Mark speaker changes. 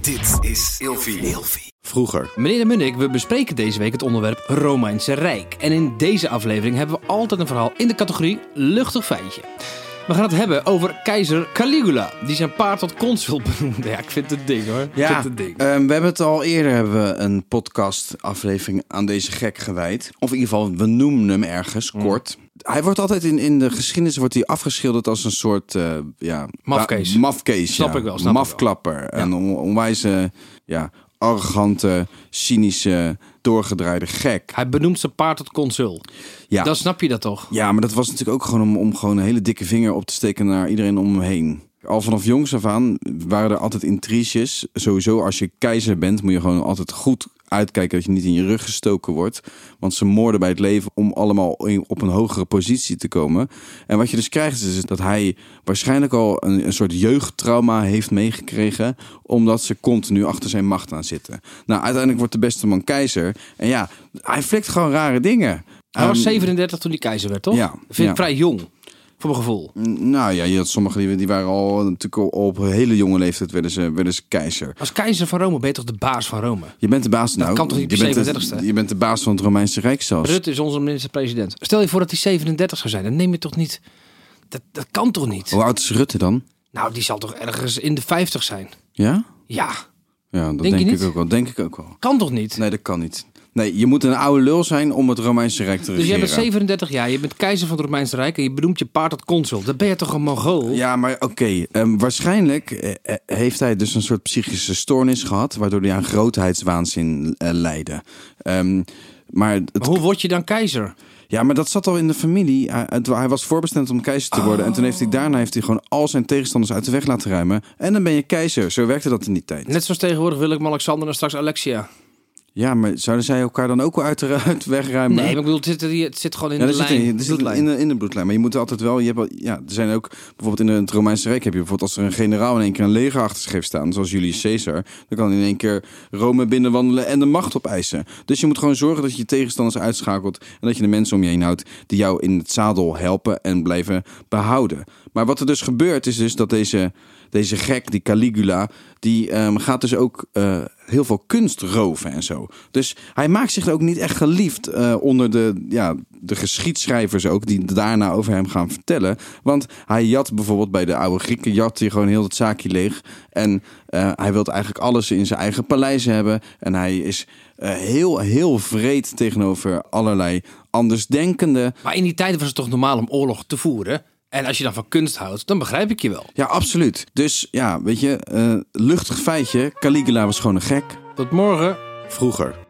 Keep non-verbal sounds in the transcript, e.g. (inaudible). Speaker 1: Dit is Ilfi.
Speaker 2: Vroeger.
Speaker 3: Meneer de Munnik, we bespreken deze week het onderwerp Romeinse Rijk. En in deze aflevering hebben we altijd een verhaal in de categorie luchtig feitje. We gaan het hebben over keizer Caligula, die zijn paard tot consul (laughs) benoemde. Ja, ik vind het ding hoor. Ik
Speaker 2: Ja,
Speaker 3: vind het ding.
Speaker 2: ehm, we hebben het al eerder hebben we een podcastaflevering aan deze gek gewijd. Of in ieder geval, we noemen hem ergens,
Speaker 3: Hmm.
Speaker 2: kort. Hij wordt altijd in, in de geschiedenis wordt hij afgeschilderd als een soort... eh ja,
Speaker 3: Mafkees.
Speaker 2: ba- Mafkees,
Speaker 3: Snap
Speaker 2: ja.
Speaker 3: ik wel, snap ik wel.
Speaker 2: Mafklapper. Een on- onwijze, ja, arrogante, cynische, doorgedraaide gek.
Speaker 3: Hij benoemt zijn paard tot consul.
Speaker 2: Ja.
Speaker 3: Dan snap je dat toch?
Speaker 2: Ja, maar dat was natuurlijk ook gewoon om, om gewoon een hele dikke vinger op te steken naar iedereen om hem heen. Al vanaf jongs af aan waren er altijd intriges. Sowieso, als je keizer bent, moet je gewoon altijd goed uitkijken dat je niet in je rug gestoken wordt. Want ze moorden bij het leven om allemaal in- op een hogere positie te komen. En wat je dus krijgt, is dat hij waarschijnlijk al een, een soort jeugdtrauma heeft meegekregen. Omdat ze continu achter zijn macht aan zitten. Nou, uiteindelijk wordt de beste man keizer. En ja, hij flikt gewoon rare dingen.
Speaker 3: Hij was
Speaker 2: Ehm,
Speaker 3: 37 toen hij keizer werd, toch?
Speaker 2: ja,
Speaker 3: Vind ik
Speaker 2: ja.
Speaker 3: vrij jong, voor mijn gevoel.
Speaker 2: Nou ja, je had sommigen die, die waren al natuurlijk al op een hele jonge leeftijd werden ze, werden ze keizer.
Speaker 3: Als keizer van Rome ben je toch de baas van Rome?
Speaker 2: Je bent de baas. nou,
Speaker 3: kan toch niet
Speaker 2: je
Speaker 3: per
Speaker 2: bent de-
Speaker 3: 37ste?
Speaker 2: Je bent de baas van het Romeinse Rijk zelfs.
Speaker 3: Rutte is onze minister-president. Stel je voor dat hij 37 zou zijn, dan neem je toch niet... Dat, dat kan toch niet?
Speaker 2: Hoe oud is Rutte dan?
Speaker 3: Nou, die zal toch ergens in de 50 zijn?
Speaker 2: Ja?
Speaker 3: Ja,
Speaker 2: Ja, dat
Speaker 3: Denk
Speaker 2: denk,
Speaker 3: je
Speaker 2: ik
Speaker 3: niet?
Speaker 2: ook wel. Denk ik ook wel.
Speaker 3: kan toch niet?
Speaker 2: Nee, dat kan niet. Nee, je moet een oude lul zijn om het Romeinse Rijk te
Speaker 3: Dus jij
Speaker 2: regeren.
Speaker 3: bent 37 jaar, je bent keizer van het Romeinse Rijk en je benoemt je paard tot consul. Dan ben je toch een Mongool?
Speaker 2: Ja, maar oké. ehm, waarschijnlijk eh, eh, heeft hij dus een soort psychische stoornis gehad, waardoor hij aan grootheidswaanzin eh, leidde. Ehm, maar het
Speaker 3: Maar hoe word je dan keizer?
Speaker 2: Ja, maar dat zat al in de familie. Hij, het- hij was voorbestemd om keizer te worden. En toen heeft hij daarna heeft hij gewoon al zijn tegenstanders uit de weg laten ruimen. En dan ben je keizer. Zo werkte dat in die tijd.
Speaker 3: Net zoals tegenwoordig Willem-Alexander en straks Alexia.
Speaker 2: Ja, maar zouden zij elkaar dan ook wel uit de uit de weg ruimen?
Speaker 3: Nee, maar ik bedoel, het zit, er hier- het zit gewoon in
Speaker 2: Ja,
Speaker 3: de
Speaker 2: dat zit,
Speaker 3: lijn.
Speaker 2: in, dat zit in, de, in de bloedlijn. Maar je moet altijd wel. Je hebt wel- ja, er zijn ook. Bijvoorbeeld in het Romeinse Rijk heb je bijvoorbeeld. Als er een generaal in één keer een leger achter zich heeft staan. Zoals Julius Caesar. Dan kan hij in één keer Rome binnenwandelen. En de macht opeisen. Dus je moet gewoon zorgen dat je je tegenstanders uitschakelt. En dat je de mensen om je heen houdt. Die jou in het zadel helpen. En blijven behouden. Maar wat er dus gebeurt. Is dus dat deze. Deze gek, die Caligula. Die ehm, gaat dus ook. eh, heel veel kunst roven en zo. Dus hij maakt zich ook niet echt geliefd eh, onder de, ja, de geschiedschrijvers ook, die daarna over hem gaan vertellen. Want hij jat bijvoorbeeld bij de oude Grieken, jat hij gewoon heel het zaakje leeg. En eh, hij wil eigenlijk alles in zijn eigen paleis hebben. En hij is eh, heel, heel vreed tegenover allerlei andersdenkenden.
Speaker 3: Maar in die tijd was het toch normaal om oorlog te voeren? En als je dan van kunst houdt, dan begrijp ik je wel.
Speaker 2: Ja, absoluut. Dus ja, weet je, eh, luchtig feitje, Caligula was gewoon een gek.
Speaker 3: Tot morgen.
Speaker 2: Vroeger.